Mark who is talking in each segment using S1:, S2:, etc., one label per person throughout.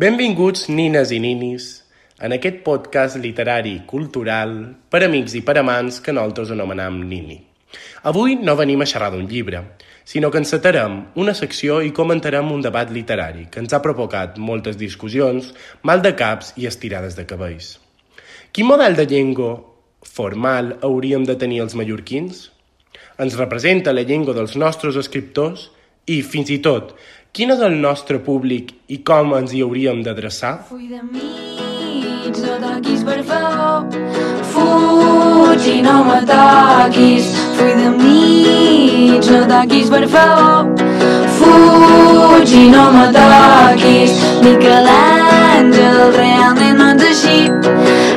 S1: Benvinguts nines i ninis en aquest podcast literari i cultural per amics i per amants que nosaltres anomenam Nini. Avui no venim a xerrar d'un llibre, sinó que encetarem una secció i comentarem un debat literari que ens ha provocat moltes discussions, mal de caps i estirades de cabells. Quin model de llengua formal hauríem de tenir els mallorquins? Ens representa la llengua dels nostres escriptors i, fins i tot, quin és el nostre públic i com ens hi hauríem d'adreçar?
S2: Full de mi, no toquis, per favor. Fuig i no me toquis. Full de mi, no toquis, per favor. Fuig i no me toquis. Miquel Àngel, realment no ets així.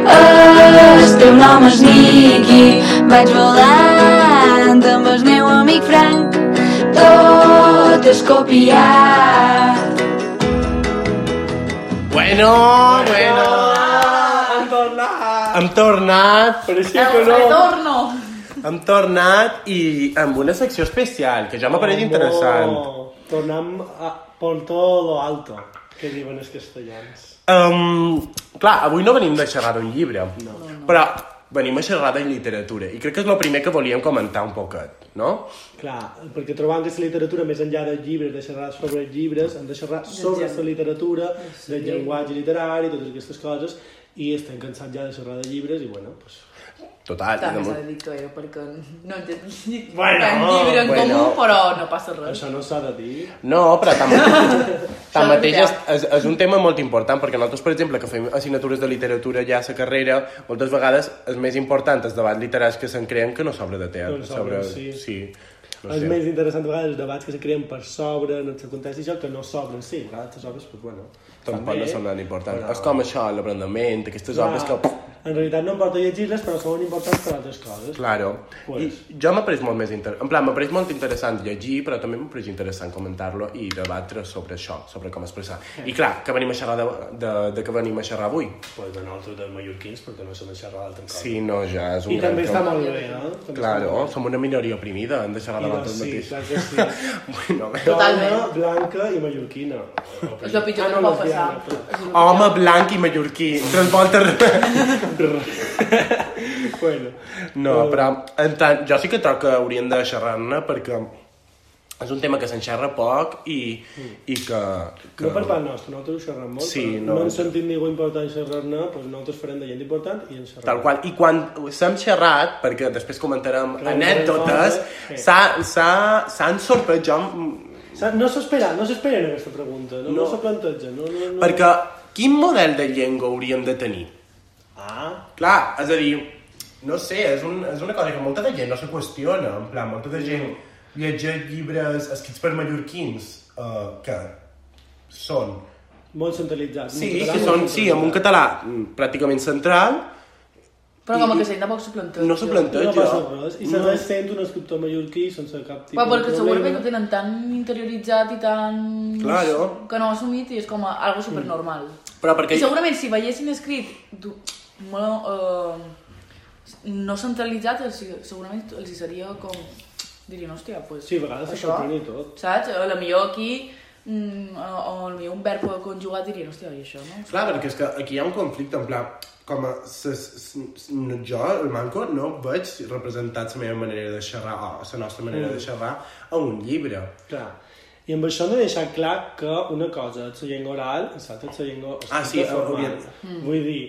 S2: El teu nom és Niqui. Vaig volant amb el meu amic Frank. Tot és copiat.
S1: Bueno, bueno...
S3: Han tornat!
S1: Hem tornat,
S3: Pareixia que no!
S1: hem tornat i amb una secció especial, que ja m'ha parit interessant.
S3: Tornem a, por todo lo alto, que diuen els castellans.
S1: Um, clar, avui no venim de xerrar d'un llibre, no. però venim a xerrar de literatura i crec que és el primer que volíem comentar un poquet, no?
S3: Clar, perquè trobam que la literatura, més enllà dels llibres, de xerrar sobre els llibres, hem de xerrar sobre la literatura, del llenguatge literari, totes aquestes coses, i estem cansats ja de xerrar de llibres, i bueno, pues,
S1: Total.
S4: Clar,
S1: i
S4: no
S1: de-
S4: s'ha de dir que era perquè no en tens
S3: Bueno,
S4: bueno, tan llibre en
S1: bueno.
S4: comú, però no passa res.
S3: això no s'ha de dir.
S1: No, però tanmateix, tanmateix
S4: Això
S1: és,
S4: és
S1: és, és un tema molt important, perquè nosaltres, per exemple, que fem assignatures de literatura ja a la carrera, moltes vegades és més important el debat literari que se'n creen que no sobre de teatre.
S3: Doncs sobre,
S1: sobre...
S3: sí.
S1: sí. No
S3: és
S1: sé.
S3: més interessant a vegades els debats que se creen per sobre, no se contesta això, que no s'obren, sí, a vegades les obres, pues, bueno,
S1: Tampoc no són tan importants.
S3: Però-
S1: És com això, l'aprenament, aquestes
S3: Clar,
S1: obres que...
S3: En realitat no em porta a llegir-les, però són importants per altres coses.
S1: Claro.
S3: Pues.
S1: I jo m'ha pres molt més inter... En plan, m'ha pres molt interessant llegir, però també m'ha pres interessant comentar-lo i debatre sobre això, sobre com expressar. I clar, que venim a xerrar de, de, de que venim a xerrar avui.
S3: Pues de nosaltres, dels mallorquins, perquè no se n'ha xerrat l'altre cop.
S1: Sí, no, ja és un
S3: I
S1: gran
S3: també
S1: tema.
S3: està molt bé, no? També
S1: Claro, som una minoria oprimida, hem de xerrar
S3: I
S1: de
S3: doncs,
S1: nosaltres
S3: sí, clar
S1: mateixos.
S3: que sí.
S1: Bueno,
S4: Totalment.
S3: Dona, blanca i mallorquina.
S4: És el pitjor
S3: Ah,
S4: que
S3: no,
S4: pot passar.
S3: lesbiana, però-
S1: home blanc i mallorquí, tres voltes...
S3: Bueno, Oh.
S1: No, però en tant, jo sí que troc que hauríem de xerrar-ne perquè és un tema que s'enxerra poc i, i que... que...
S3: Mm. no per part nostra, nosaltres ho xerrem molt,
S1: Sí,
S3: però
S1: no.
S3: no, ens sentim ningú important xerrar-ne, doncs nosaltres farem de gent important i ens xerrem.
S1: Tal qual. I quan s'hem xerrat, perquè després comentarem
S3: Clar,
S1: anècdotes,
S3: sí.
S1: s'ha- s'ha- s'han sorprès jo... mm,
S3: Sa- No s'espera, no s'esperen aquesta pregunta, no,
S1: No.
S3: no, se planteja. No, no, no.
S1: Perquè quin model de llengua hauríem de tenir?
S3: Ah,
S1: Clar, és a dir, no sé, és, un, és una cosa que molta de gent no se qüestiona, en plan, molta de gent llegeix llibres escrits per mallorquins eh, que són...
S3: molt centralitzat.
S1: Sí,
S3: Molt
S1: que
S3: català,
S1: són,
S3: molt
S1: sí, amb un
S3: centralitzat.
S1: català mm, pràcticament central,
S4: Però com que sent tampoc s'ho planteja.
S1: no s'ho planteja.
S3: No passa res. I
S1: No.
S3: s'ha sent un escriptor mallorquí sense cap tipus
S4: Però perquè
S3: de
S4: segurament
S3: problema.
S4: ho tenen tan interioritzat i tan...
S1: Claro.
S4: Que no ho ha assumit i és com a algo supernormal.
S1: Però perquè...
S4: I segurament si veiessin escrit du... molt, eh, no centralitzat, els, hi- segurament els hi seria com... Dirien, hòstia, pues,
S3: Sí, a vegades se
S4: això,
S3: sorprèn i tot.
S4: Saps? A la millor aquí, mm, o, o a la millor un verb conjugat dirien, hòstia, i això, no?
S1: Clar, perquè és que aquí hi ha un conflicte, en plan, com a... s- s- s- no, jo, el Manco, no veig representat la meva manera de xerrar, o la nostra manera de xerrar, a un llibre.
S3: Clar. I amb això hem de deixar clar que una cosa és la llengua oral i l'altra és la llengua escrita
S1: Ah, sí,
S3: formal. Mm.
S1: òbviament.
S3: Vull dir,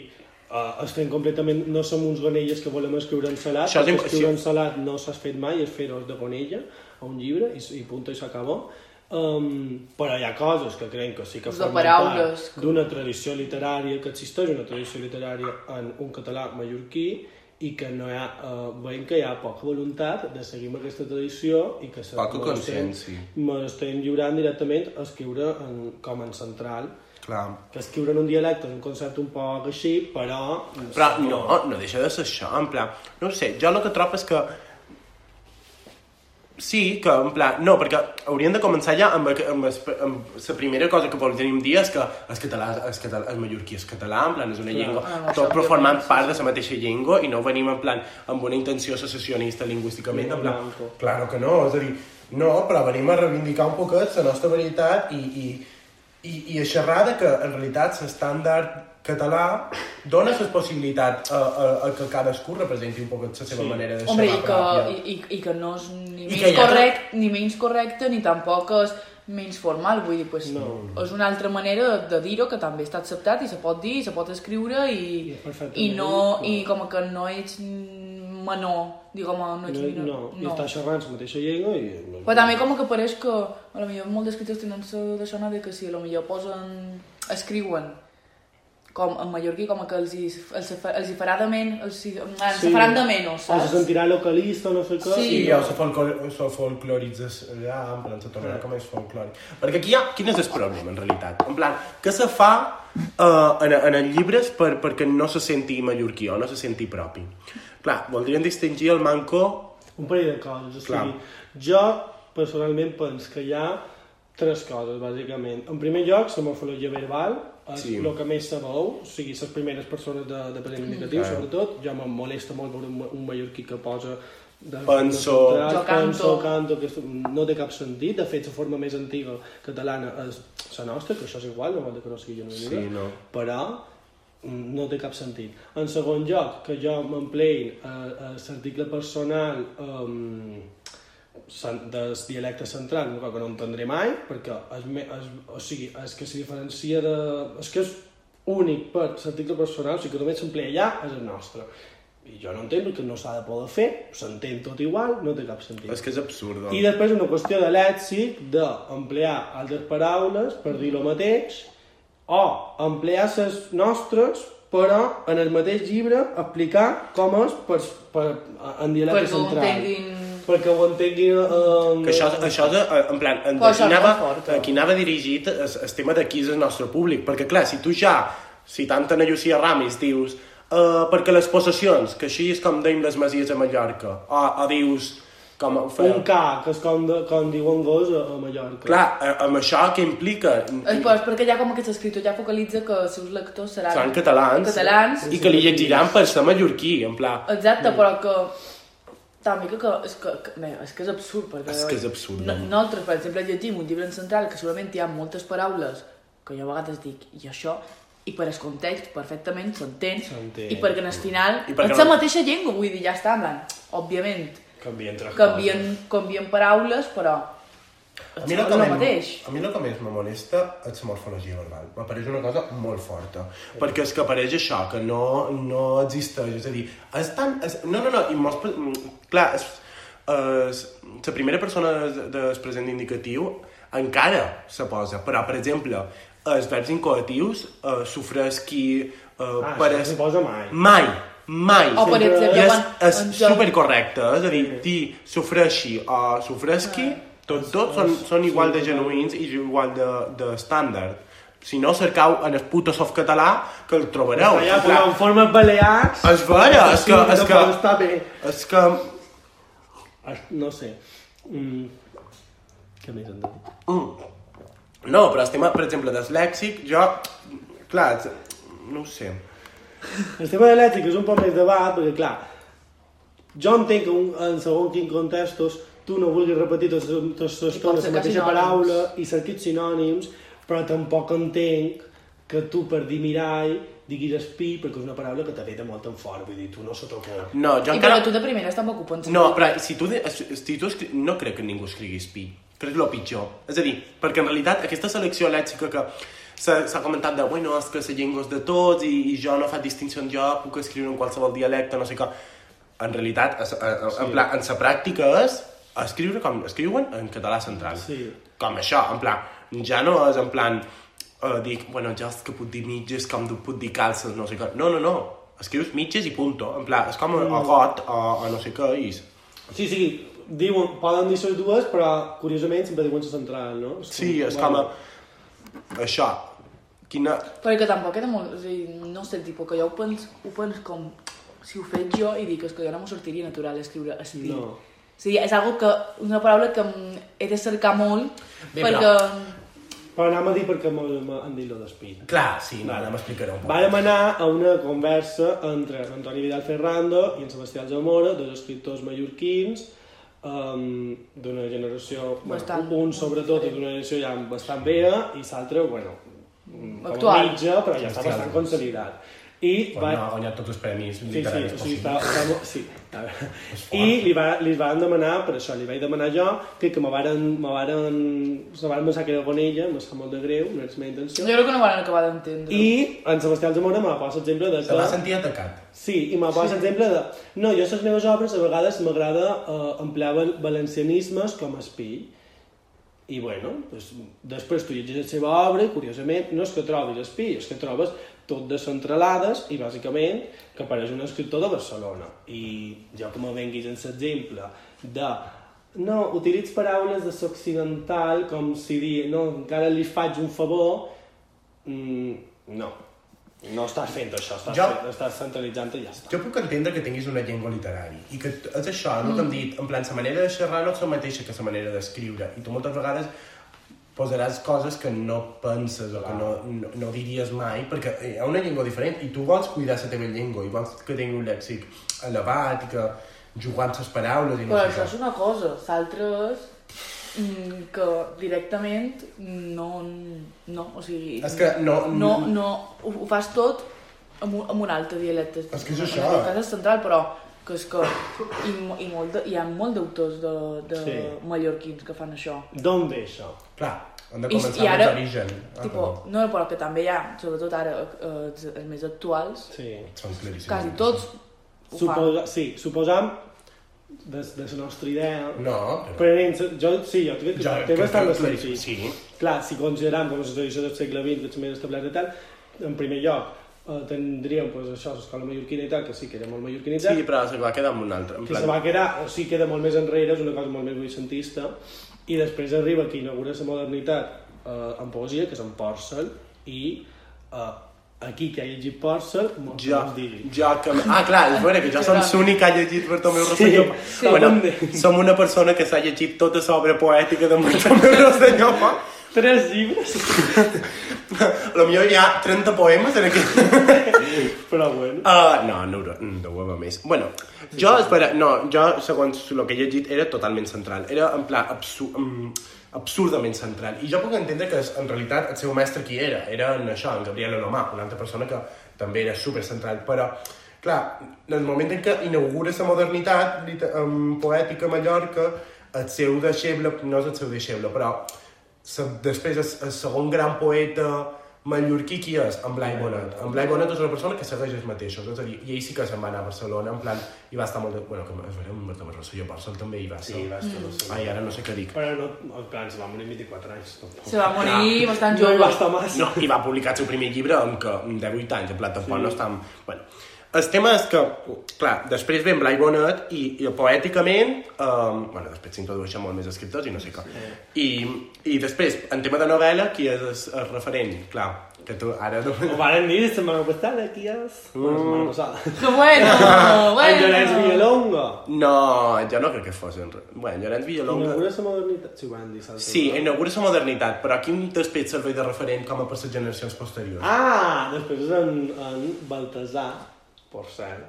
S3: uh, estem completament... No som uns gonelles que volem escriure en salat,
S1: Això és
S3: perquè
S1: imp-
S3: escriure
S1: sí.
S3: en salat no s'has fet mai, és fer-ho de gonella a un llibre i, i punto i s'acabó. Um, però hi ha coses que crec que sí que
S4: De
S3: formen
S4: paraules.
S3: part d'una tradició literària, que existeix una tradició literària en un català mallorquí i que no hi ha, eh, veiem que hi ha poca voluntat de seguir amb aquesta tradició i que se-
S1: Poca
S3: mos
S1: consent,
S3: estem-
S1: sí.
S3: Mos estem lliurant directament a escriure en, com en central,
S1: Clar.
S3: que escriure en un dialecte és un concepte un poc així, però...
S1: Però no, no deixa de ser això, en plan, no ho sé, jo el que trobo és que sí, que en plan, no, perquè hauríem de començar ja amb, aqu- amb, es- amb la primera cosa que podríem dir és que el català, el, català, el mallorquí és català, en plan, és una llengua,
S4: Ah, no,
S1: tot però
S4: això òbviament,
S1: formant part de la mateixa llengua i no venim en plan amb una intenció secessionista lingüísticament, en plan,
S3: Blanco.
S1: claro que no, és a dir, no, però venim a reivindicar un poquet la nostra veritat i, i I, i a xerrar de que, en realitat, l'estàndard català dona la possibilitat a, a, a que cadascú representi un poc la seva
S3: Sí.
S1: sí. manera de
S4: Hombre,
S1: xerrar
S4: i que,
S1: pròpia.
S4: i, i, i que no és ni
S1: I que
S4: menys,
S1: hi ha-
S4: correct, ni menys correcte ni tampoc és menys formal, vull dir, pues, no. és una altra manera de, de dir-ho que també està acceptat i se pot dir, i se pot escriure i,
S3: I és perfectament
S4: i, no,
S3: clar.
S4: i com que no ets menor, diguem, no ets
S3: No,
S4: minor.
S3: no, i està xerrant la mateixa llengua i...
S4: Però també com que pareix que a lo millor molts escriptors tenen la de sona de que si a lo millor posen, escriuen com en mallorquí com que els hi, els, hi fa- els hi farà de men, els hi, ah, els sí. faran de menos,
S3: O
S4: saps?
S3: se sentirà localista o no sé què.
S4: Sí.
S1: Sí, o se, folclor, se folclorització, ah, en plan, se tornarà com és folclòric. Perquè aquí hi ha... Quin és el problema, en realitat? En plan, què se fa eh, en, en els llibres per, perquè no se senti mallorquí o no se senti propi? Clar, voldrien distingir el manco...
S3: un parell de coses. O sigui,
S1: Clar.
S3: jo personalment penso que hi ha tres coses, bàsicament. En primer lloc, la morfologia verbal, és
S1: Sí.
S3: el que més se veu, o sigui, les primeres persones de, de present indicatiu,
S1: Clar.
S3: sobretot. Jo em molesta molt veure un, ma- un mallorquí que posa de,
S1: Penso.
S3: de- penso,
S4: Jo canto.
S3: canto, que esto- no té cap sentit. De fet, la forma més antiga catalana és la nostra, que això és igual, no vol dir que no sigui jo no
S1: Sí,
S3: vinguda,
S1: no.
S3: però mm, no té cap sentit. En segon lloc, que jo m'empleï eh, l'article personal eh, del dialecte central, una cosa que no entendré mai, perquè és, me, és, o sigui, és que se diferencia de... És que és únic per l'article personal, o sigui que només s'empleia allà, és el nostre. I jo no entenc que no s'ha de poder fer, s'entén tot igual, no té cap sentit.
S1: És que és absurd.
S3: I després una qüestió de lèxic d'emplear altres paraules per dir el mateix o emplear les nostres però en el mateix llibre explicar com és per, per, en dialecte
S4: Perquè ho
S3: central.
S4: entenguin-
S3: Perquè ho entenguin... Eh,
S1: Que això, això de, eh, en plan, en,
S4: Però
S1: aquí,
S4: això no
S1: anava,
S4: fort, eh?
S1: aquí anava dirigit el, el tema de qui és el nostre públic, perquè clar, si tu ja, si tant Ana Llucia Ramis dius uh, perquè les possessions, que així és com deim les masies a Mallorca, o, o dius com...
S3: Un K, que és com, de, com diuen gos a, a Mallorca.
S1: Clar, eh, amb això què implica?
S4: És, però és perquè ja com aquest escriptor ja focalitza que els seus lectors seran...
S1: Seran catalans,
S4: Catalans.
S1: i que li llegiran per ser mallorquí, en pla...
S4: Exacte, però que... També que, que, és, que, que bé, és que és absurd, perquè...
S1: És que és absurd,
S4: No,
S1: home.
S4: nosaltres, per exemple, llegim un llibre en central que segurament hi ha moltes paraules que jo a vegades dic, i això, i per el context perfectament s'entén,
S3: S'entén.
S4: i perquè en el final
S1: I perquè
S4: és la
S1: no-
S4: mateixa llengua, vull dir, ja està, en plan, òbviament,
S1: Canvien tres
S4: canvien, canvien paraules, però
S1: A
S4: és
S1: mi, el que
S4: el
S1: més-
S4: mateix.
S1: a mi el que més me molesta és la morfologia verbal. M'apareix una cosa molt forta. Perquè és que apareix això, que no, no existeix. És a dir, és tan... És, no, no, no, i molts... pe- mm, Clar, és, és, la primera persona de- del present indicatiu encara se posa, però, per exemple, els verbs incoatius eh, sofreix qui... Eh,
S3: Ah,
S1: per
S3: això no
S1: es-
S3: s'hi posa mai.
S1: Mai, mai.
S4: O, per
S1: Sempre-
S4: exemple,
S1: I és,
S4: quan-
S1: és
S4: quan jo-
S1: supercorrecte, eh? és a dir, dir sofreixi o sofresqui,
S4: Ah.
S1: tots dos són, són igual de genuïns i igual de, de estàndard. Si no, cercau en el puto soft català que el trobareu. Clar,
S3: Allà, però en formes balears...
S1: és vera, és que... És
S3: no
S1: que,
S3: pot estar bé.
S1: és que
S3: Es- No sé. Mm. Què més hem de dir?
S1: mm. No, però el tema, per exemple, deslèxic, jo... Clar, és- no ho sé.
S3: El tema de l'ètica és un poc més debat, perquè clar, jo entenc que un, en segon quin contextos tu no vulguis repetir totes totes les
S4: I
S3: estones
S4: pots
S3: la
S4: cercar
S3: mateixa
S4: sinònims.
S3: paraula i cerquis sinònims, però tampoc entenc que tu per dir mirall diguis espí perquè és una paraula que t'ha dit de molt en fort, vull dir, tu no se t'ocorre.
S1: No, jo
S4: I
S1: encara...
S4: però tu de primeres tampoc ho penses.
S1: No, però si tu, de- si tu escri... no crec que ningú escrigui espi. Crec que és el pitjor. És a dir, perquè en realitat aquesta selecció lèxica que s'ha s'ha comentat de, bueno, és que la llengua és de tots i, i jo no faig distinció, jo puc escriure en qualsevol dialecte, no sé què. En realitat, es, a, a, en, pla, en sa pràctica és escriure com escriuen en català central.
S3: Sí.
S1: Com això, en plan, ja no és en plan, eh, dic, bueno, ja és que puc dir mitges, com du- puc dir calces, no sé què. No, no, no. Escrius mitges i punto. En plan, és com a,
S3: Mm.
S1: a got o, o no sé què, i
S3: Sí, sí, diuen, poden dir les dues, però curiosament sempre diuen la central, no?
S1: Sí, és com a... Això. Quina...
S4: Perquè tampoc era molt... O sigui, no sé, tipus, que jo ho penso, ho penso com... Si ho faig jo i dic, és que jo no m'ho sortiria natural escriure estil.
S3: No.
S4: O sigui, és algo que, una paraula que em- he de cercar molt,
S1: Bé,
S4: perquè...
S3: Però anem a dir perquè m'han dit lo d'espí.
S1: Clar, sí, no, ara m'explicaré un poc.
S3: Vàrem anar a una conversa entre Antoni Vidal Ferrando i en Sebastià Zamora, dos escriptors mallorquins, um, d'una generació,
S4: Bastant.
S3: bueno, un sobretot és d'una generació ja bastant vella i l'altre, bueno, mm, com a
S4: Actual.
S3: mitja, però ja està
S1: Actual.
S3: bastant consolidat. I
S1: Quan
S3: va,
S1: no ha guanyat tots els premis
S3: Sí, sí,
S1: literaris
S3: o sigui,
S1: possibles.
S3: està, està molt... Sí. A veure. I li, va, li van demanar, per això li vaig demanar jo, que, que me varen... Me varen se van pensar que era con ella, em sap molt de greu, no és la meva
S4: Jo
S3: intenció.
S4: crec que no van acabar d'entendre.
S3: I en Sebastià Zamora me posa l'exemple de
S1: Se va
S3: que...
S1: sentir atacat.
S3: Sí, i me posa l'exemple de... No, jo les meves obres a vegades m'agrada eh, emplear val- valencianismes com a espill. I bueno, doncs, després tu llegeixes la seva obra i curiosament no és que trobis espill, és que trobes tot descentralades i bàsicament que apareix un escriptor de Barcelona. I jo que me venguis en l'exemple de no, utilitz paraules de l'occidental com si dir, no, encara li faig un favor, mm, no, no estàs fent això, estàs,
S1: Jo-
S3: fent, estàs centralitzant i ja està.
S1: Jo puc entendre que tinguis una llengua literària i que t- és això, no
S4: Mm.
S1: t'hem dit, en plan, la manera de xerrar no és la mateixa que la manera d'escriure i tu moltes vegades posaràs coses que no penses o que no, no, no diries mai perquè eh, hi ha una llengua diferent i tu vols cuidar la teva llengua i vols que tingui un lèxic elevat i que jugar amb les paraules i no
S4: Però
S1: sé
S4: això
S1: què.
S4: és una cosa, l'altra és mm, que directament no, no, o sigui...
S1: És que no-
S4: No, no, ho, ho fas tot amb un, amb un altre dialecte.
S1: És que és
S4: En
S1: això.
S4: aquest cas és central, però que és que i, mo- i molt de, hi ha molt d'autors de, de sí.
S3: Sí.
S4: mallorquins que fan això.
S3: D'on ve això?
S1: Clar, hem de
S4: I-
S1: començar
S4: i
S1: amb
S4: ara-
S1: l'origen. Ah,
S4: tipo,
S1: perdó.
S4: no, però que també hi ha, sobretot ara, eh, els, els més actuals,
S3: Sí.
S1: Són claríssims.
S4: quasi tots ho fan.
S3: Suposa, sí, suposam, des, des la nostra idea,
S1: No, però...
S3: Prenent, jo, sí, jo crec que
S1: Jo-
S3: jo, té
S1: crec
S3: bastant
S1: que
S3: de
S1: clar-
S3: sentit.
S1: sí.
S3: Clar, si consideram com a tradició del segle XX, que també era establert i tal, en primer lloc, eh, tindríem pues, això, l'escola mallorquina i tal, que sí que era molt mallorquinitzat,
S1: Sí, però se va quedar amb un altre. En
S3: que
S1: plan,
S3: se va quedar, o sí queda molt més enrere, és una cosa molt més vicentista, i després arriba que inaugura la modernitat eh, en poesia, que és en Porcel, i eh, aquí que ha llegit Porcel, molt
S1: Jo,
S3: ja. digui.
S1: jo que... Ah, clar, és vera que jo som l'únic que ha llegit Bartomeu Rosselló.
S3: sí.
S1: Ah, Bueno,
S3: Abundant.
S1: som una persona que s'ha llegit tota l'obra poètica de Bartomeu Rosselló.
S3: Tres llibres,
S1: Lo millor hi ha 30 poemes en aquest...
S3: però bueno.
S1: Uh, no, no, no, de hueva més. Bueno, jo, espera, no, jo, segons el que he llegit, era totalment central. Era, en pla, absur um, absurdament central. I jo puc entendre que, en realitat, el seu mestre qui era? Era en això, en Gabriel Olomà, una altra persona que també era super central. Però, clar, en el moment en què inaugura la modernitat lite- em, poètica a Mallorca, el seu deixeble, no és el seu deixeble, però se, després el, el segon gran poeta mallorquí qui és? En Blai Bonet. En Blai Bonet és una persona que segueix els mateixos, és a dir, i ell sí que se'n va anar a Barcelona, en plan, i va estar molt... De... Bueno, que és veritat, Marta Marrosa, jo Barcelona també hi va ser. Sí, va estar mm. Ai, ara no sé què dic.
S3: Però no, en plan, se va morir 24 anys, tampoc.
S4: Se va morir
S3: No
S4: bastant
S3: hi
S4: jove.
S3: va estar massa.
S1: No, i va publicar el seu primer llibre amb que amb 18 anys, en plan, tampoc sí. no està... amb- Bueno, el tema és que, clar, després ve en Blai Bonet i, i poèticament, um, bueno, després s'introdueixen molt més escriptors i no sé què. I, I després, en tema de novel·la, qui és el, el referent? Clar, que tu ara... No...
S3: Ho varen dir la setmana passada, aquí és... Bueno, la setmana passada.
S4: Que bueno,
S3: En Llorenç
S4: bueno.
S3: Villalonga.
S1: No, jo no crec que fos... En... re- Bueno, Llorenç Villalonga...
S3: Inaugura la modernitat. Sí, ho van dir. l'altre
S1: Sí,
S3: dia.
S1: inaugura la modernitat, però aquí després serveix de referent com a per les generacions posteriors.
S3: Ah, després és en, en Baltasar, per cert,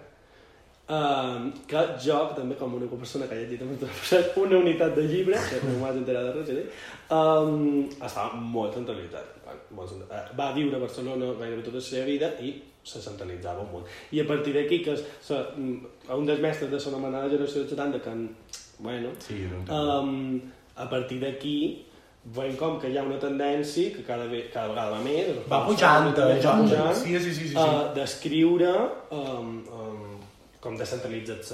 S3: um, que jo, que també com una persona que ha llegit amb tot una unitat de llibre, que no m'has enterat de res, eh? um, estava molt centralitzat. Bueno, molt centralitzat. Va viure a Barcelona gairebé tota la seva vida i se centralitzava molt. I a partir d'aquí, que es, se, mm, un dels mestres de l'anomenada generació de 70, que, en, bueno,
S1: Sí, era un tema.
S3: Um, a partir d'aquí veiem com que hi ha una tendència que cada, ve, cada vegada va més
S1: Va pujant, eh,
S3: va
S1: jo-
S3: pujant
S1: sí, sí, sí, sí, sí.
S3: eh, d'escriure um, um, com descentralitzar-se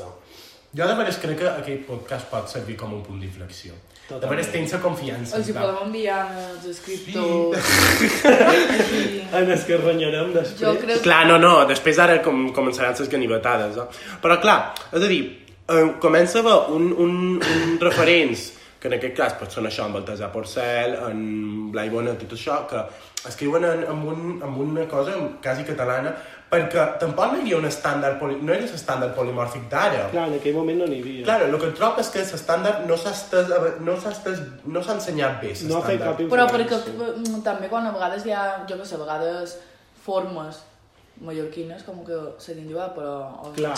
S1: Jo de veres crec que aquest podcast pot servir com un punt d'inflexió. De
S3: Totalment.
S1: veres tens la confiança.
S4: Els hi
S1: en plan,
S4: podem enviar als escriptors. Sí.
S3: en els que renyarem després
S4: Jo crec que
S1: Clar, no, no, després ara com, començaran les ganivetades, eh? Però clar, és a dir, eh, comença a haver un, un, un referents, que en aquest cas pot ser això, en Baltasar Porcel, en Blai Bona, tot això, que escriuen en, en, un, en una cosa quasi catalana, perquè tampoc no hi havia un estàndard, poli, no era l'estàndard polimòrfic d'ara.
S3: clar, en aquell moment no n'hi havia
S1: Claro, el que trobo és que l'estàndard no s'ha estes- no s'ha estes- no s'ha ensenyat bé,
S3: no ha fet
S1: l'estàndard.
S3: cap
S4: Però
S3: influència.
S4: perquè mm, també quan a vegades hi ha, jo que sé, a vegades formes mallorquines com que se diuen jugar, però...
S3: Clar.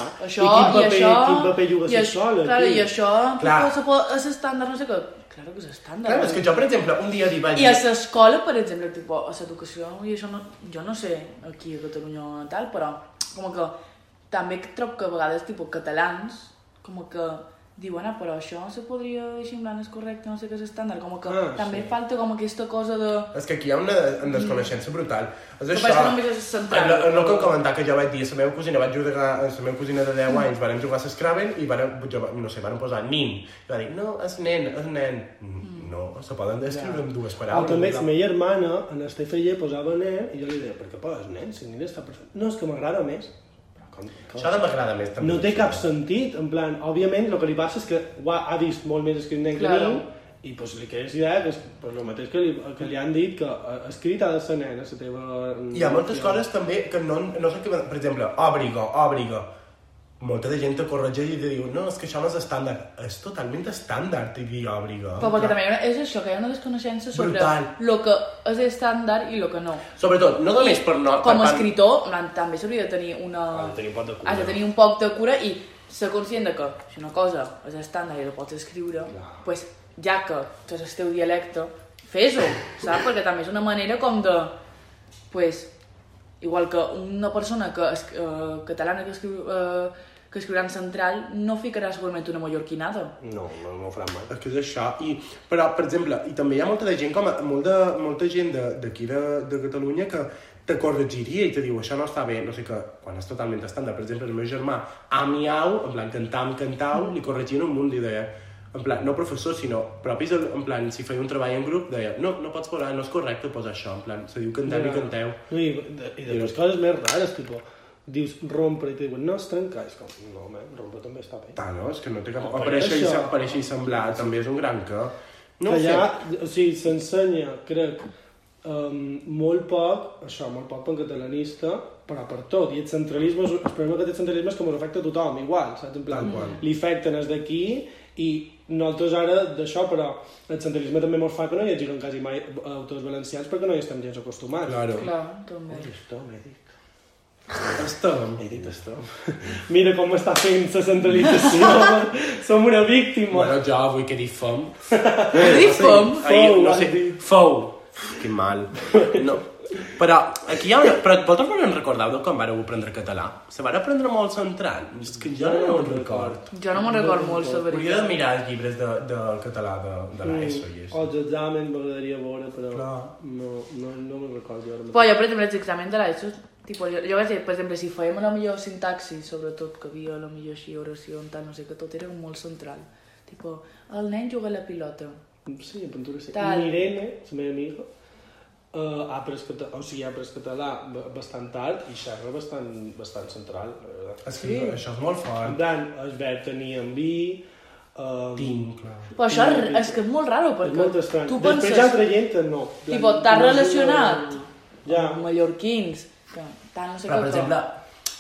S3: I
S4: Això,
S3: quin
S4: i
S3: paper-
S4: això,
S3: quin paper juga
S4: i
S3: ser
S4: això-
S3: sola,
S4: Clar,
S3: aquí?
S4: i això...
S1: Clar.
S4: Clar. Se pot, és estàndard, no sé què. Clar que és estàndard.
S1: Clar, és que jo, per exemple, un dia li vaig
S4: I
S1: dir...
S4: a l'escola, per exemple, tipo, a l'educació, i això no, jo no sé aquí a Catalunya o tal, però com que també que trobo que a vegades tipo, catalans com que diuen, ah, però això se podria així en plan, és correcte, no sé què és estàndard, com que
S3: Ah,
S4: també
S3: sí. Ah,
S4: falta com aquesta cosa de...
S1: És que aquí hi ha una en desconeixença brutal. És
S4: Però
S1: això.
S4: parece que només és central.
S1: El, el, el que em comentava que jo vaig dir a la meva cosina, vaig jugar a la meva cosina de 10 anys, vàrem jugar a Scrabble i vàrem, jo, no sé, vàrem posar nin. I va dir, no, és nen, és nen. Mm. No, se poden descriure amb dues
S3: Ah,
S1: paraules.
S3: també la meva germana, en el TFG, posava nen i jo li deia, per què poses nen? Si nen està perfecte. No, és que m'agrada més. Però com, com?
S1: Això de m'agrada més, també.
S3: No té cap sentit, en plan, òbviament el que li passa és que ho ha, ha vist molt més escrit nen que
S4: Claro.
S3: nen i pues, li quedes idea que és pues, el mateix que li, que li han dit que eh, escrit ha de ser nen a la teva...
S1: Hi ha moltes coses també que no, no sé què... Per exemple, òbriga, òbriga. Molta de gent te corregeix i te diu, no, és que això no és estàndard. És totalment estàndard, i dir òbriga.
S4: Però perquè també hi ha una- és això, que hi ha una desconeixença sobre
S1: Brutal.
S4: el que és estàndard i el que no.
S1: Sobretot, no només per no...
S4: Com
S1: per
S4: a
S1: part-
S4: escritor, en plan, també s'hauria de tenir una...
S1: Ha de tenir un pot de cura.
S4: Has de tenir un poc de cura i ser conscient de que si una cosa és estàndard i la pots escriure, pues, ja que és el teu dialecte, fes-ho, saps? Perquè també és una manera com de... Pues, igual que una persona que es, eh, catalana que, escriu, eh, que escriurà en central no ficarà segurament una mallorquinada.
S1: No, no, no ho faran mai. És que és això. I, però, per exemple, i també hi ha molta de gent, com a, molta, molta gent de- d'aquí de, de, Catalunya que te corregiria i te diu això no està bé, no sé què, quan és totalment estàndard. Per exemple, el meu germà, amiau, en plan cantam, cantau, li corregien un munt d'idea. En plan, no professor, sinó propis, en plan, si feia un treball en grup, deia, no, no pots posar, no és correcte posar això, en plan, se diu cantem i canteu.
S3: No, i, de, I de les coses més rares, tipo, dius rompre i te diuen, no, es trenca. És com, no, home, rompre també està bé.
S1: Ah, no, és que no té cap...
S3: No, però
S1: Apareixer i,
S3: això-
S1: se- aparèixer i semblar, també és un gran que...
S3: No
S1: No
S3: que
S1: ho sé.
S3: ja, o sigui, s'ensenya, crec, um, molt poc, això, molt poc en catalanista, però per tot. I el centralisme, és- el problema que té el centralisme és que ens afecta a tothom, igual, saps? En plan,
S1: Tal qual.
S3: li afecten els d'aquí i nosaltres ara d'això, però el centralisme també ens fa que no hi hagi quasi mai autors valencians perquè no hi estem gens acostumats.
S1: Claro.
S4: Clar, també.
S1: Eh,
S3: Estom, he dit.
S1: Estem.
S3: He dit estom. Mira com està fent la centralització. Som una víctima.
S1: Bueno, jo vull que dir fom.
S4: Rifem!
S1: Ahir, no
S3: has
S1: sé,
S3: dit.
S1: fou. Que mal. No. Però aquí hi ha una... Però vosaltres no en recordeu de quan vàreu aprendre català? Se van aprendre molt central? És que jo no me'n record.
S4: Jo no me'n record molt sobre
S1: Hauria de mirar els llibres de, de català de, de l'ESO i
S3: O
S1: això.
S3: els exàmens m'agradaria veure, però
S1: Clar.
S3: no, no, no me'n recordo jo ara mateix.
S4: Però jo, per exemple, els exàmens de l'ESO, tipo, jo, jo vaig dir, per exemple, si fèiem la millor sintaxi, sobretot, que havia la millor així oració, tal, no sé, que tot era molt central. Tipo, el nen juga a la pilota.
S3: Sí, pintura sí.
S4: Tal.
S3: Tal. Irene, la meva amiga, uh, ha après català, o sigui, ha après català ba- bastant tard i xerra bastant, bastant central. la veritat.
S1: És que això és molt
S3: En
S1: fort.
S3: tant, es veu tenir en vi, um,
S1: Tinc, clar.
S4: Però això és, és que és molt raro,
S3: és
S4: perquè
S3: molt estrany.
S4: tu
S3: Després hi ha
S4: penses,
S3: altra gent que no.
S4: tipo, t'has
S3: No és-
S4: relacionat
S3: Ja.
S4: amb mallorquins, que tal, no sé
S1: Però, per
S4: què,
S1: exemple,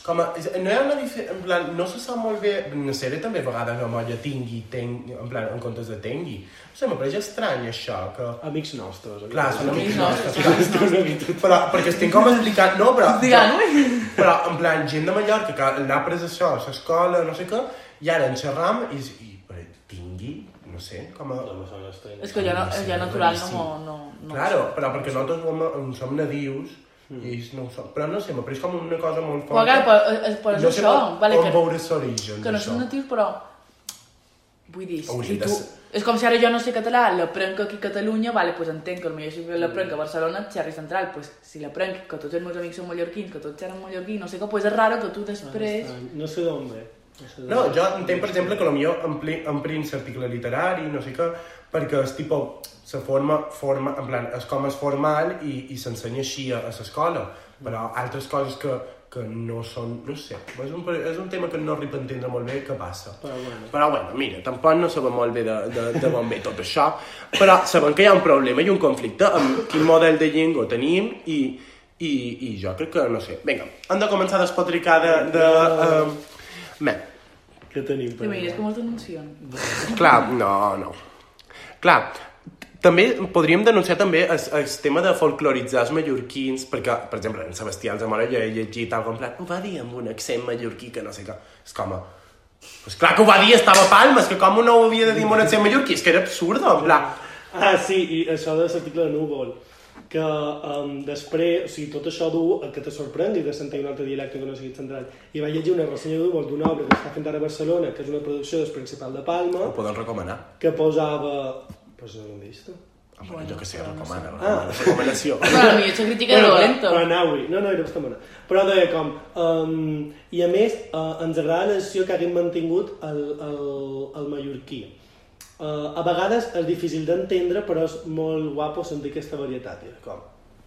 S1: com a, és- no hi ha una diferència, en plan, no se sap molt bé, no sé, bé també a vegades la molla tingui, tengui, en plan, en comptes de tengui. No sé, m'apareix estrany això, que...
S3: Amics nostres.
S1: Clar, són
S3: amics
S1: amics
S4: Amics
S1: nostres.
S4: nostres,
S1: clar. Però, perquè estic com explicant, no, però...
S4: Digue'm-ho.
S1: Però, en plan, gent de Mallorca que l'ha pres això a l'escola, no sé què, i ara en xerram i, i però, tingui, no sé, com a...
S3: No són estranyes.
S4: És que jo, no,
S1: Sí,
S4: jo natural no,
S1: boníssim.
S4: m'ho- no, no,
S1: Claro, però perquè nosaltres ho hem, en som nadius i ells no ho som. Però no sé, m'apareix com una cosa molt
S4: Però,
S1: forta.
S4: clar, però, eh, però és
S1: no sé
S4: això,
S1: on,
S4: vale,
S1: on
S4: que...
S1: veure l'origen
S4: que no
S1: d'això.
S4: són natius, però... Vull dir, si
S1: Hauríem de
S4: tu...
S1: ser-
S4: És com si ara jo no sé català, l'aprenc aquí a Catalunya, vale, pues entenc que potser si l'aprenc a Barcelona, xerri central, pues si l'aprenc, que tots els meus amics són mallorquins, que tots xerren mallorquí, no sé què, pues és raro que tu després...
S1: Ah,
S3: No sé d'on ve. No sé d'on
S1: No, jo entenc, per exemple, que potser ampli, amplin l'article literari, no sé què, perquè és tipus, se forma, forma, en plan, és com és formal i, i s'ensenya així a, a l'escola, però altres coses que, que no són, no sé, és un, és un tema que no arriba a entendre molt bé què passa.
S3: Però bueno.
S1: però bueno, mira, tampoc no sabem molt bé de, de, de on ve tot això, però sabem que hi ha un problema i un conflicte amb quin model de llengua tenim i, i, i jo crec que, no sé, vinga, hem de començar a despotricar de... de um, bé,
S3: Què tenim
S4: Te
S3: per
S4: mires com es denuncien.
S1: Clar, no, no. Clar, També podríem denunciar també el, el tema de folcloritzar els mallorquins, perquè, per exemple, en Sebastià Zamora jo he llegit algo en plan, ho va dir amb un accent mallorquí que no sé què. És com, pues clar que ho va dir, estava a Palma, és que com no ho havia de dir amb un accent mallorquí? És que era absurdo, en plan...
S3: Ah, sí, i això de l'article de Núvol que um, després, o sigui, tot això du a que te sorprengui de sentir un altre dialecte que no sigui central. I vaig llegir una ressenya de Núvol d'una obra que està fent ara a Barcelona, que és una producció del Principal de Palma,
S1: Ho podem recomanar.
S3: que posava... Pues no l'he vist.
S1: Home, bueno, jo que sé, recomana, recomana, recomanació.
S4: Però potser això critica de dolenta.
S3: Però anau-hi. No, no, era bastant bona. Però deia com... Um, I a més, uh, ens agrada la decisió que haguem mantingut el, el, el mallorquí. Uh, a vegades és difícil d'entendre, però és molt guapo sentir aquesta varietat. I era com...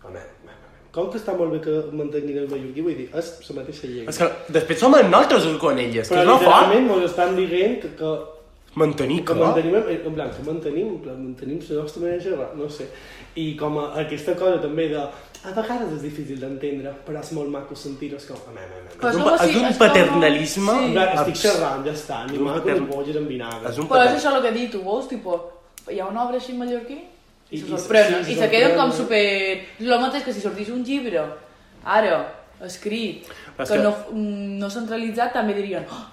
S3: Home, home, home, com que està molt bé que mantinguin el mallorquí? Vull dir, és la mateixa llengua.
S1: És que després som nosaltres els conelles, que
S3: Però
S1: és no fort.
S3: literalment ens estan dient que, que
S1: Mantenir,
S3: que
S1: que
S3: mantenim, eh, en plan, que mantenim, en plan, mantenim la nostra manera de xerrar, no sé. I com a, aquesta cosa també de... A vegades és difícil d'entendre, però és molt maco sentir-ho, és com... Home, home, home.
S4: Però
S1: És un
S4: això
S1: pa-
S4: sí,
S1: és un
S4: és com-
S1: paternalisme.
S3: En
S4: Sí.
S3: plan, estic
S1: abs-
S3: xerrant, ja està, ni
S1: d'un
S3: maco,
S1: patern-
S3: ni boges amb vinagre.
S1: És un
S4: Però és
S1: patet.
S4: això el que he dit, tu vols, tipo, hi ha una obra així en mallorquí
S3: I-
S4: i se
S3: i-
S4: sorprenen,
S3: sí,
S4: i
S3: se
S4: se queden com
S3: sorprenen.
S4: super... És el mateix que si sortís un llibre, ara, escrit,
S1: Però és
S4: que
S1: que-
S4: no, mm, no centralitzat, també dirien... "Oh,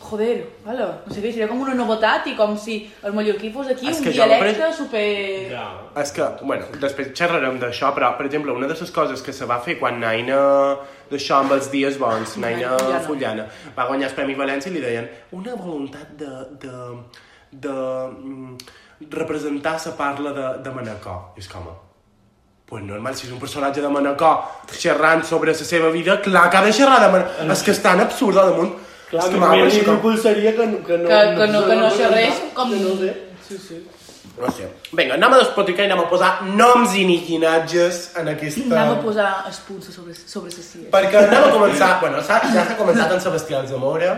S4: Joder, hola, no sé què, seria com una novetat i com si el mallorquí fos aquí
S1: És
S4: un
S1: que jo, per
S4: dialecte super...
S3: Ja.
S1: És que, bueno, després xerrarem d'això, però, per exemple, una de les coses que se va fer quan Naina, d'això amb els dies bons, Naina
S4: Fullana.
S1: Fullana, va guanyar el Premi València i li deien una voluntat de... de, de mm, representar la parla de, de Manacor. I és com, pues normal, si és un personatge de Manacor xerrant sobre la seva vida, clar que ha de xerrar de Manacor. És que és tan absurd al damunt.
S3: Clar,
S1: és
S3: que
S1: que m'ha
S3: m'hauria
S1: aixecat.
S3: impulsaria que, no- que no...
S4: Que, que no, que no
S3: sé
S4: xerrés com...
S3: Que no ho sé.
S4: Sí, sí.
S1: No sé. Vinga, anem a despotricar i anem a posar noms i llinatges en aquesta...
S4: Anem a posar espunça sobre, sobre ses silles.
S1: Perquè anem a començar... Bueno, s'ha- ja s'ha començat en Sebastià Zamora.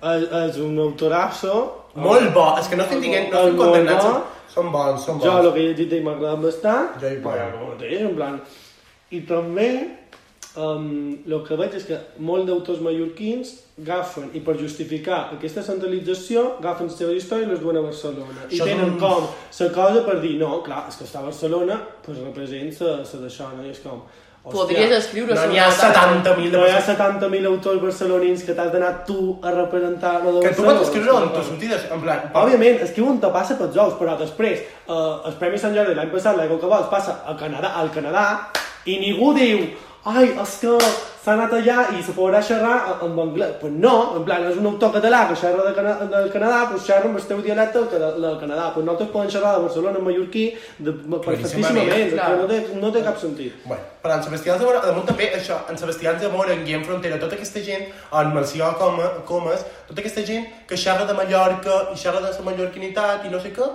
S3: És, és un autorasso.
S1: Molt bo. És que no estic dient... No estic
S3: Molt
S1: condemnant...
S3: bo.
S1: Són, són bons, són
S3: Jo, el
S1: bons.
S3: que he llegit d'ell m'ha agradat bastant.
S1: Jo hi
S3: Però
S1: parlo.
S3: no mateix, en plan... I també, um, el que veig és que molts d'autors mallorquins agafen, i per justificar aquesta centralització, agafen la seva història i les duen a Barcelona. I
S1: Això és
S3: tenen
S1: un-
S3: com la cosa per dir, no, clar, és que està a Barcelona, doncs representa la d'això, no? I és com... hòstia,
S4: Podries escriure
S1: No
S4: sobre
S1: n'hi ha
S4: nosaltres.
S1: 70.000 de
S3: No hi ha
S1: persones.
S3: 70.000 autors barcelonins que t'has d'anar tu a representar lo de
S1: Que tu pots
S3: Barcelona.
S1: escriure on tu sortides. En plan...
S3: Òbviament, esquiu on te passa pels ous, però després, eh, el Premi Sant Jordi l'any passat, l'aigua que vols, passa al Canadà, al Canadà, i ningú diu, ai, és que s'ha anat allà i se podrà xerrar en- en anglès. Pues no, en plan, és un autor català que xerra de Cana del Canadà, pues xerra amb el teu dialecte del, Cana- del Canadà. Pues nosaltres podem xerrar de Barcelona, en mallorquí, de, perfectíssimament, és que
S4: clar.
S3: no té, no té cap sentit.
S1: Bueno, però en Sebastià Zamora, damunt també això, en Sebastià Zamora, en Guillem Frontera, tota aquesta gent, en Melcior Coma, Comas, tota aquesta gent que xerra de Mallorca i xerra de la mallorquinitat i no sé què,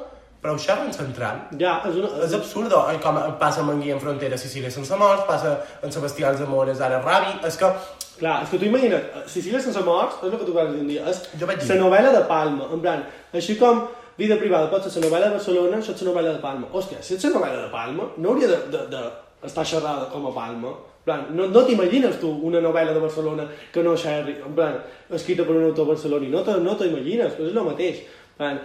S1: però ho xerra en central.
S3: Ja, és una...
S1: És absurdo, eh, com passa amb en Guillem Frontera, Sicília sense morts, passa en Sebastià Zamora, ara Rabi, és que
S3: Clar, és que tu imagina't, eh, Sicília sense morts, és el que tu vas dir un dia, és
S1: Jo vaig dir.
S3: la novel·la de Palma, en plan, així com Vida privada pot ser la novel·la de Barcelona, això és la novel·la de Palma. Hòstia, si ets la novel·la de Palma, no hauria de, de, de estar xerrada com a Palma. En plan, no, no t'imagines tu una novel·la de Barcelona que no xerri, en plan, escrita per un autor barceloní, no te- no t'imagines, no és el mateix. En plan,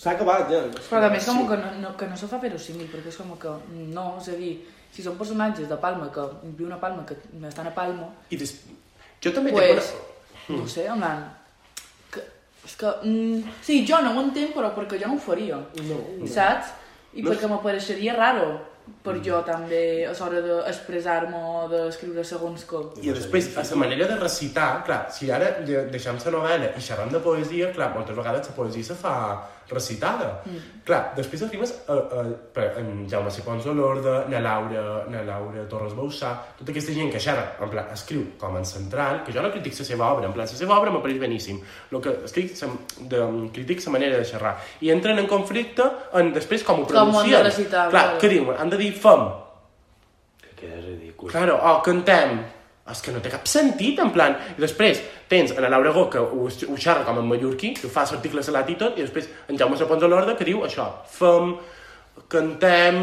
S3: s'ha acabat ja.
S4: Però també és com que no, no, que no se fa verosímil, perquè és com que no, és a dir, si són personatges de Palma, que viu una Palma, que estan a Palma,
S1: I des... Jo també
S4: pues,
S1: tinc una... Mm.
S4: no sé, en plan, que, és que, mm, sí, jo no ho entenc, però perquè jo no ho faria,
S3: No.
S4: saps? I
S1: No Mm.
S4: perquè m'apareixeria raro, per jo també, a l'hora d'expressar-me o d'escriure segons com.
S1: I després, a la manera de recitar, clar, si ara de- deixem la novel·la i xerrem de poesia, clar, moltes vegades la poesia se fa recitada. Mm. Clar, després arribes a, a, per, en Jaume Cipons Olorda, na Laura, na Laura Torres Boussà, tota aquesta gent que xerra, en plan, escriu com en central, que jo no critic la seva obra, en plan, la seva obra m'apareix beníssim. El que escric, se, de, critic la manera de xerrar. I entren en conflicte en després com ho
S4: Com ho han de
S1: pronuncien.
S4: recitar,
S1: Clar,
S4: vale.
S1: què diuen? Han de dir fem,
S3: Que queda ridícul.
S1: Claro, oh, cantem. És que no té cap sentit, en plan... I després tens en Laura Go, que ho, ho xerra com en mallorquí, que fa l'article salat i tot, i després en Jaume Sapons de l'Orda, que diu això, fem, cantem,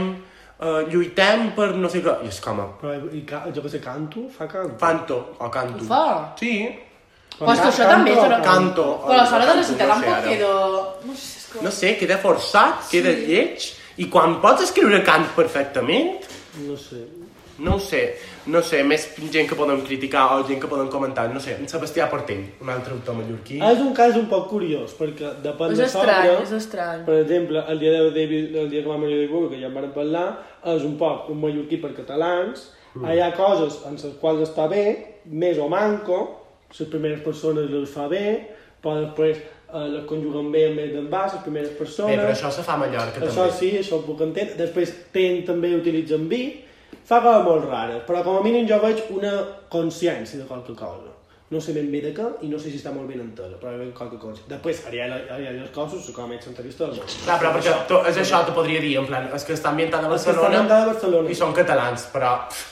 S1: eh, lluitem per no sé què. I és com,
S3: Però, i, ca, jo que sé, canto? Fa canto?
S1: fanto, o canto.
S4: Ho fa?
S1: Sí.
S4: Però és que això també és una...
S1: Canto.
S4: Però a l'hora de recitar
S1: Canto, no sé
S4: tampoc
S1: ara.
S4: queda... No sé, és que...
S1: No sé, queda forçat, queda lleig, I quan pots escriure cants perfectament,
S3: No sé.
S1: no ho sé, no ho sé, més gent que podem criticar o gent que podem comentar, no sé, en Sebastià Portell, un altre autor mallorquí.
S3: És un cas un poc curiós, perquè depèn
S4: És
S3: de
S4: estrany,
S3: sobre...
S4: és estrany.
S3: Per exemple, el dia, de David, el dia que vam venir a David que ja en vàrem parlar, és un poc un mallorquí per catalans, mm. hi ha coses en les quals està bé, més o manco, les primeres persones les fa bé, però després eh, les conjuguen bé amb més d'envàs, les primeres persones...
S1: Bé, però això se fa a Mallorca
S3: Això
S1: també.
S3: sí, això ho puc entendre. Després ten, també utilitzen vi. Fa coses molt rares, però com a mínim jo veig una consciència de qualque cosa. No sé ben bé de què i no sé si està molt ben entesa, però hi ha qualque cosa. Després, Ariel, Ariel i els cossos, com a metge entrevista del món.
S1: Clar, però perquè to, és això, t'ho podria dir, en plan, és que està ambientada a
S3: És que està
S1: Barcelona,
S3: ambientada a Barcelona.
S1: i són catalans, però pff,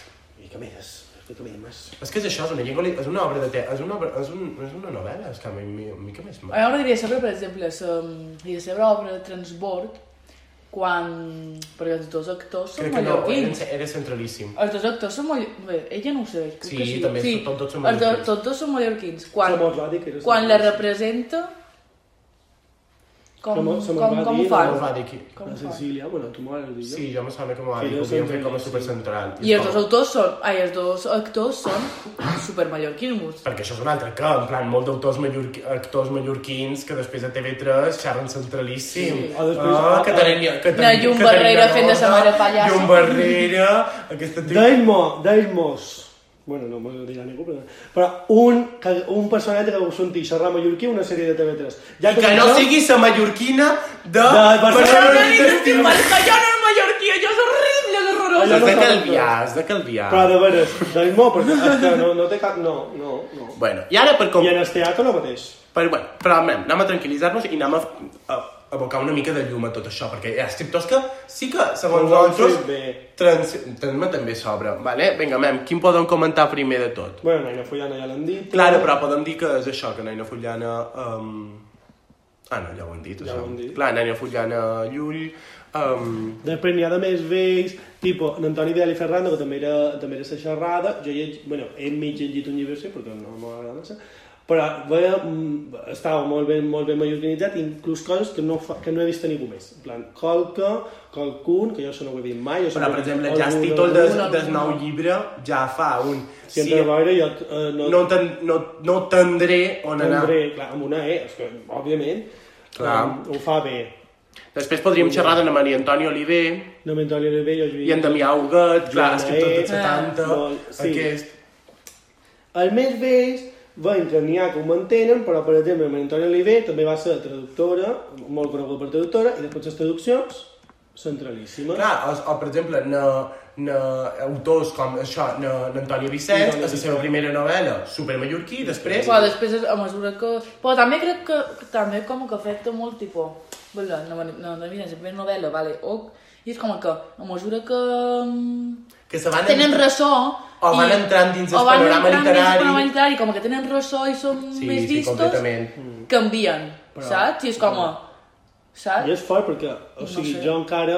S3: I què més? I què més?
S1: és que és això, és una llengua, li- és una obra de te, és una, obra, és, un, és una novel·la, és que a mi, mi, a mi què més m'ha...
S4: A mi m'agradaria saber, per exemple, la, la seva obra de transbord, quan... perquè els dos actors són
S1: Crec que no, eh?
S4: mallorquins.
S1: era, era centralíssim.
S4: Els dos actors són mallorquins. Bé, ella no ho sé. crec
S1: Sí,
S4: que sí.
S1: també,
S4: sí.
S1: tot- tots són
S4: Els dos,
S1: mallorquins.
S4: tots dos són mallorquins. Quan,
S3: Som els va dir que era
S4: quan la
S3: mallorquins.
S4: representa... Com,
S3: Som
S4: com,
S3: els- som els
S4: com,
S3: va
S4: com
S3: dir,
S4: ho fan?
S1: No ho va dir qui.
S4: Com
S3: La
S4: ho fan?
S3: Cecília, bueno, tu m'ho vas dir jo.
S1: Sí, jo me sona com a
S3: Sí,
S1: dir,
S3: no
S1: ho podien fer
S3: centralíssim.
S1: com a supercentral.
S4: I els
S1: com-
S4: dos autors són... Ai, els dos actors són supermallorquins.
S1: Perquè això és un altre que, en plan, molt d'autors mallorqui, actors mallorquins que després a TV3 xerren centralíssim.
S4: Sí.
S1: Ah,
S3: O després-
S1: Caterina, Caterina,
S4: La Llum Barrera fent de sa mare pallassa.
S1: Llum Barrera, aquesta tia...
S3: Deimos, Deimos. Bueno, no m'ho dirà ningú, però... Però un, que, un personatge que ho senti xerrar mallorquí una sèrie de TV3.
S1: I que no sigui sa mallorquina de...
S3: De Barcelona.
S1: Barcelona.
S4: Ni dius, "Tio, és que jo no és mallorquí, això és horrible, és horrorós.
S1: És de
S3: Allò no
S1: Calviàs, de Calvià.
S3: Però de veres, Deimos, perquè és que no, no té cap... No, no, no.
S1: Bueno, i ara per com...
S3: I en el teatre el mateix.
S1: Però, bueno, però anem, anem a tranquil·litzar-nos i anem a, a, a abocar una mica de llum a tot això, perquè hi ha escriptors que sí que, segons
S3: Ho han fet
S1: nosaltres,
S3: bé.
S1: trans, trans, també s'obre. Vale? Vinga, mem, quin podem comentar primer de tot?
S3: Bueno, Naina Fullana ja l'han dit.
S1: Claro, però podem dir que és això, que Naina Fullana... Um... Ah, no, ja ho hem dit.
S3: Ja
S1: això.
S3: ho hem dit.
S1: Clar, Naina Fullana Llull... Um...
S3: Després n'hi ha de més vells, tipo en Antoni Vidal i Ferrando, que també era, també era sa xerrada, jo lleg... bueno, he mig llegit un llibre, sí, perquè no m'agrada massa, però veia, mm, estava molt ben, molt ben organitzat, inclús coses que no, fa, que no he vist a ningú més. En plan, qualque, qualcun, que jo això no ho he vist mai... jo
S1: Però, per
S3: sempre he vist
S1: exemple,
S3: algun,
S1: ja el títol del,
S3: algun.
S1: del nou llibre ja fa un...
S3: Si entra a veure, jo eh, no,
S1: no, ten, no, no tendré on anar.
S3: tindré, clar, amb una E, és que, òbviament,
S1: Clar.
S3: eh, ho fa bé.
S1: Després podríem xerrar d'Anna Maria Antònia Oliver,
S3: No m'entoni bé, jo he
S1: I en Damià Huguet, clar,
S3: Joan
S1: escriptor
S3: Baez,
S1: dels 70,
S3: molt, sí.
S1: aquest...
S3: El més vells veiem que n'hi ha que ho mantenen, però per exemple, Antònia Oliver també va ser traductora, molt coneguda per traductora, i després les traduccions, centralíssimes.
S1: Clar, o, o per exemple, na, na, autors com això, na- n'Antònia Vicenç,
S3: Antònia
S1: és la seva primera novel·la, supermallorquí, després...
S4: Però després, a mesura que... Però també crec que, que també com que afecta molt, tipo... Bueno, no, no, no, mira, sempre novel·la, vale? O, I és com que, a mesura que... mm,
S1: Que se van...
S4: Tenen ressò...
S1: O
S4: i-
S1: van entrant dins el
S4: o van
S1: panorama
S4: entrant dins el
S1: literari.
S4: panorama literari, com que tenen ressò i són
S1: Sí,
S4: més
S1: sí,
S4: vistos,
S1: completament.
S4: canvien, saps? I és com a...
S3: I
S4: Saps?
S3: és fort perquè, o sigui,
S4: sé.
S3: jo encara,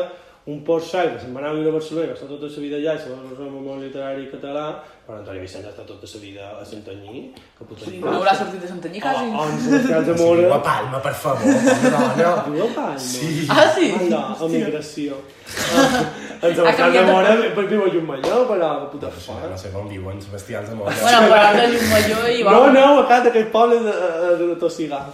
S3: un post sai que se'n va anar a viure a Barcelona, i va estar tota la seva vida allà, i se va resoldre el món literari català, però Antònia Vicenç ha estat tota la seva vida a Santanyí, que puta sí,
S4: No haurà sortit de
S1: Oh,
S4: Santanyí, quasi.
S3: A 11 Ciutat de
S1: Viu a
S3: Mora.
S1: Palma, per favor, pobra dona.
S3: Viu a Palma. Sí.
S4: Ah, sí?
S3: Anda, a migració. En Sebastià de
S4: canviat de-
S3: Mora viu a Llummalló, però puta fora.
S1: No sé com diuen, Sebastià de Mora.
S4: Bueno, però ara llum major i va...
S3: No, no, acá d'aquest poble de, eh, de, de Tossigar.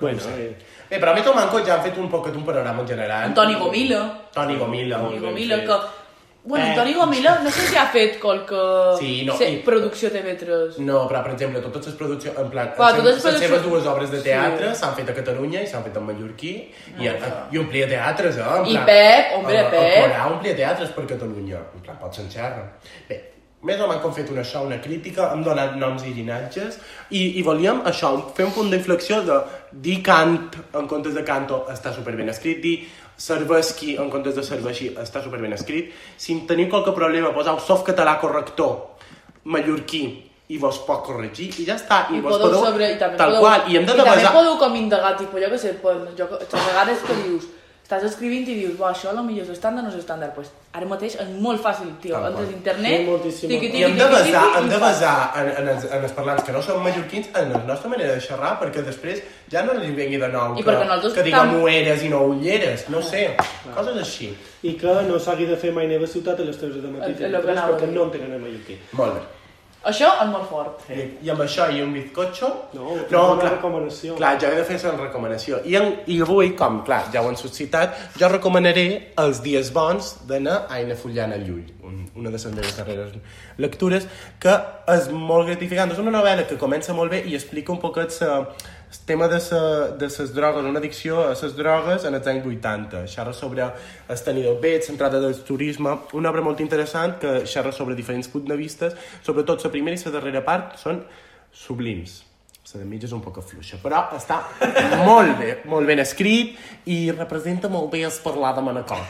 S3: Bueno, eh,
S1: Bé, però a Meto Manco ja han fet un poquet un panorama en general.
S4: Antoni Gomila.
S1: Toni Gomila.
S4: Toni
S1: molt ben
S4: Gomila,
S1: fet.
S4: que... Bueno,
S1: Eh.
S4: Toni Gomila, no sé si ha fet qualque...
S1: Sí, no,
S4: se-
S1: i-
S4: Producció TV3.
S1: No, però, per exemple, totes les produccions... En plan,
S4: Clar,
S1: les,
S4: totes
S1: seves,
S4: les
S1: les seves
S4: produccions-
S1: dues obres de teatre s'han fet a Catalunya i s'han fet a Mallorquí i, a, i omplia teatres, eh? En
S4: Ah, I Pep, hombre,
S1: el,
S4: Pep.
S1: El Corà omplia teatres per Catalunya. En plan, pots enxerrar. Bé, més o menys com fet una això, una crítica, hem donat noms i llinatges i, i volíem això, fer un punt d'inflexió de dir Kant en comptes de Canto està superben escrit, dir Cervesqui en comptes de Cervesqui està superben escrit. Si en teniu qualque problema, poseu softcatalà corrector mallorquí i vos pot corregir i ja està.
S4: I
S1: vos
S4: podeu sobre... I també
S1: Tal
S4: podeu,
S1: qual, i hem de
S4: I també
S1: devesar...
S4: podeu com indagar, tipo, jo què sé, pues, jo, que- a vegades que dius estàs escrivint i dius, bo, això a lo millor és estàndard o no és estàndard. Pues, ara mateix és molt fàcil, tio.
S1: Tal
S4: Entres
S1: qual.
S4: a internet...
S3: Sí, moltíssim.
S4: tiqui, tiqui,
S1: I hem de
S4: tiqui, tiqui,
S1: basar, hem
S4: i
S1: de
S4: fa.
S1: basar en, en, els, en els parlants que no són mallorquins en la nostra manera de xerrar, perquè després ja no li vengui de nou
S4: I
S1: que,
S4: perquè nosaltres
S1: que diguem
S4: tam-
S1: ueres i no ulleres, no sé, coses així.
S3: I que no s'hagi de fer mai neva ciutat a les 3 de matí,
S4: El- el
S3: el, el,
S4: que anava a
S3: perquè
S4: dir.
S3: no en tenen a Mallorquí.
S1: Molt bé.
S4: Això és molt fort.
S1: I, I amb això i un bizcocho...
S3: No, una recomanació.
S1: Clar, jo he de fer la recomanació. I, en, I avui, com clar, ja ho han suscitat, jo recomanaré els dies bons d'anar a Aina Fullana Llull, un, una de les meves darreres lectures, que és molt gratificant. És una novel·la que comença molt bé i explica un poquet sa, el tema de, sa, de ses drogues, una addicció a ses drogues en els anys 80. Xerra sobre el tenidor vets, centrada del turisme, una obra molt interessant que xerra sobre diferents punts de vistes, sobretot la primera i la darrera part són sublims. La de mitja és un poc fluixa, però està molt bé, molt ben escrit i representa molt bé el parlar de Manacor.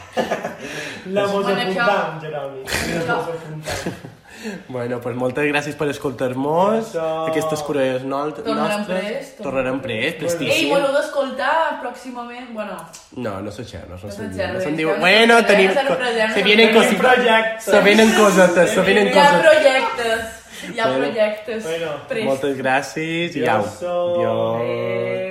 S3: La mos
S4: Bueno, això-
S3: apuntant, Jeroni. La mos apuntant.
S1: Bueno, doncs moltes gràcies per escoltar-nos,
S3: Això.
S1: aquestes curioses no nostres.
S4: Tornarem pres, tornarem
S1: Tornarem pres,
S4: Ei,
S1: prestíssim.
S4: voleu d'escoltar pròximament? Bueno,
S1: No, no se xerra, no se
S4: No se
S1: xerra.
S4: xerra,
S1: No se'n
S4: ja
S1: diu...
S4: no
S1: Bueno,
S4: se xerra,
S1: tenim...
S4: ja se
S1: co-
S4: representa.
S1: Se vienen
S3: Tenim
S1: cositas.
S3: projectes.
S1: Se vienen cosetes, se vienen
S4: hi ha
S1: coses.
S4: projectes. Hi ha
S1: Bueno.
S4: projectes.
S3: Bueno.
S4: Pres.
S1: Moltes gràcies i au.
S3: Adéu-siau.
S1: Adéu.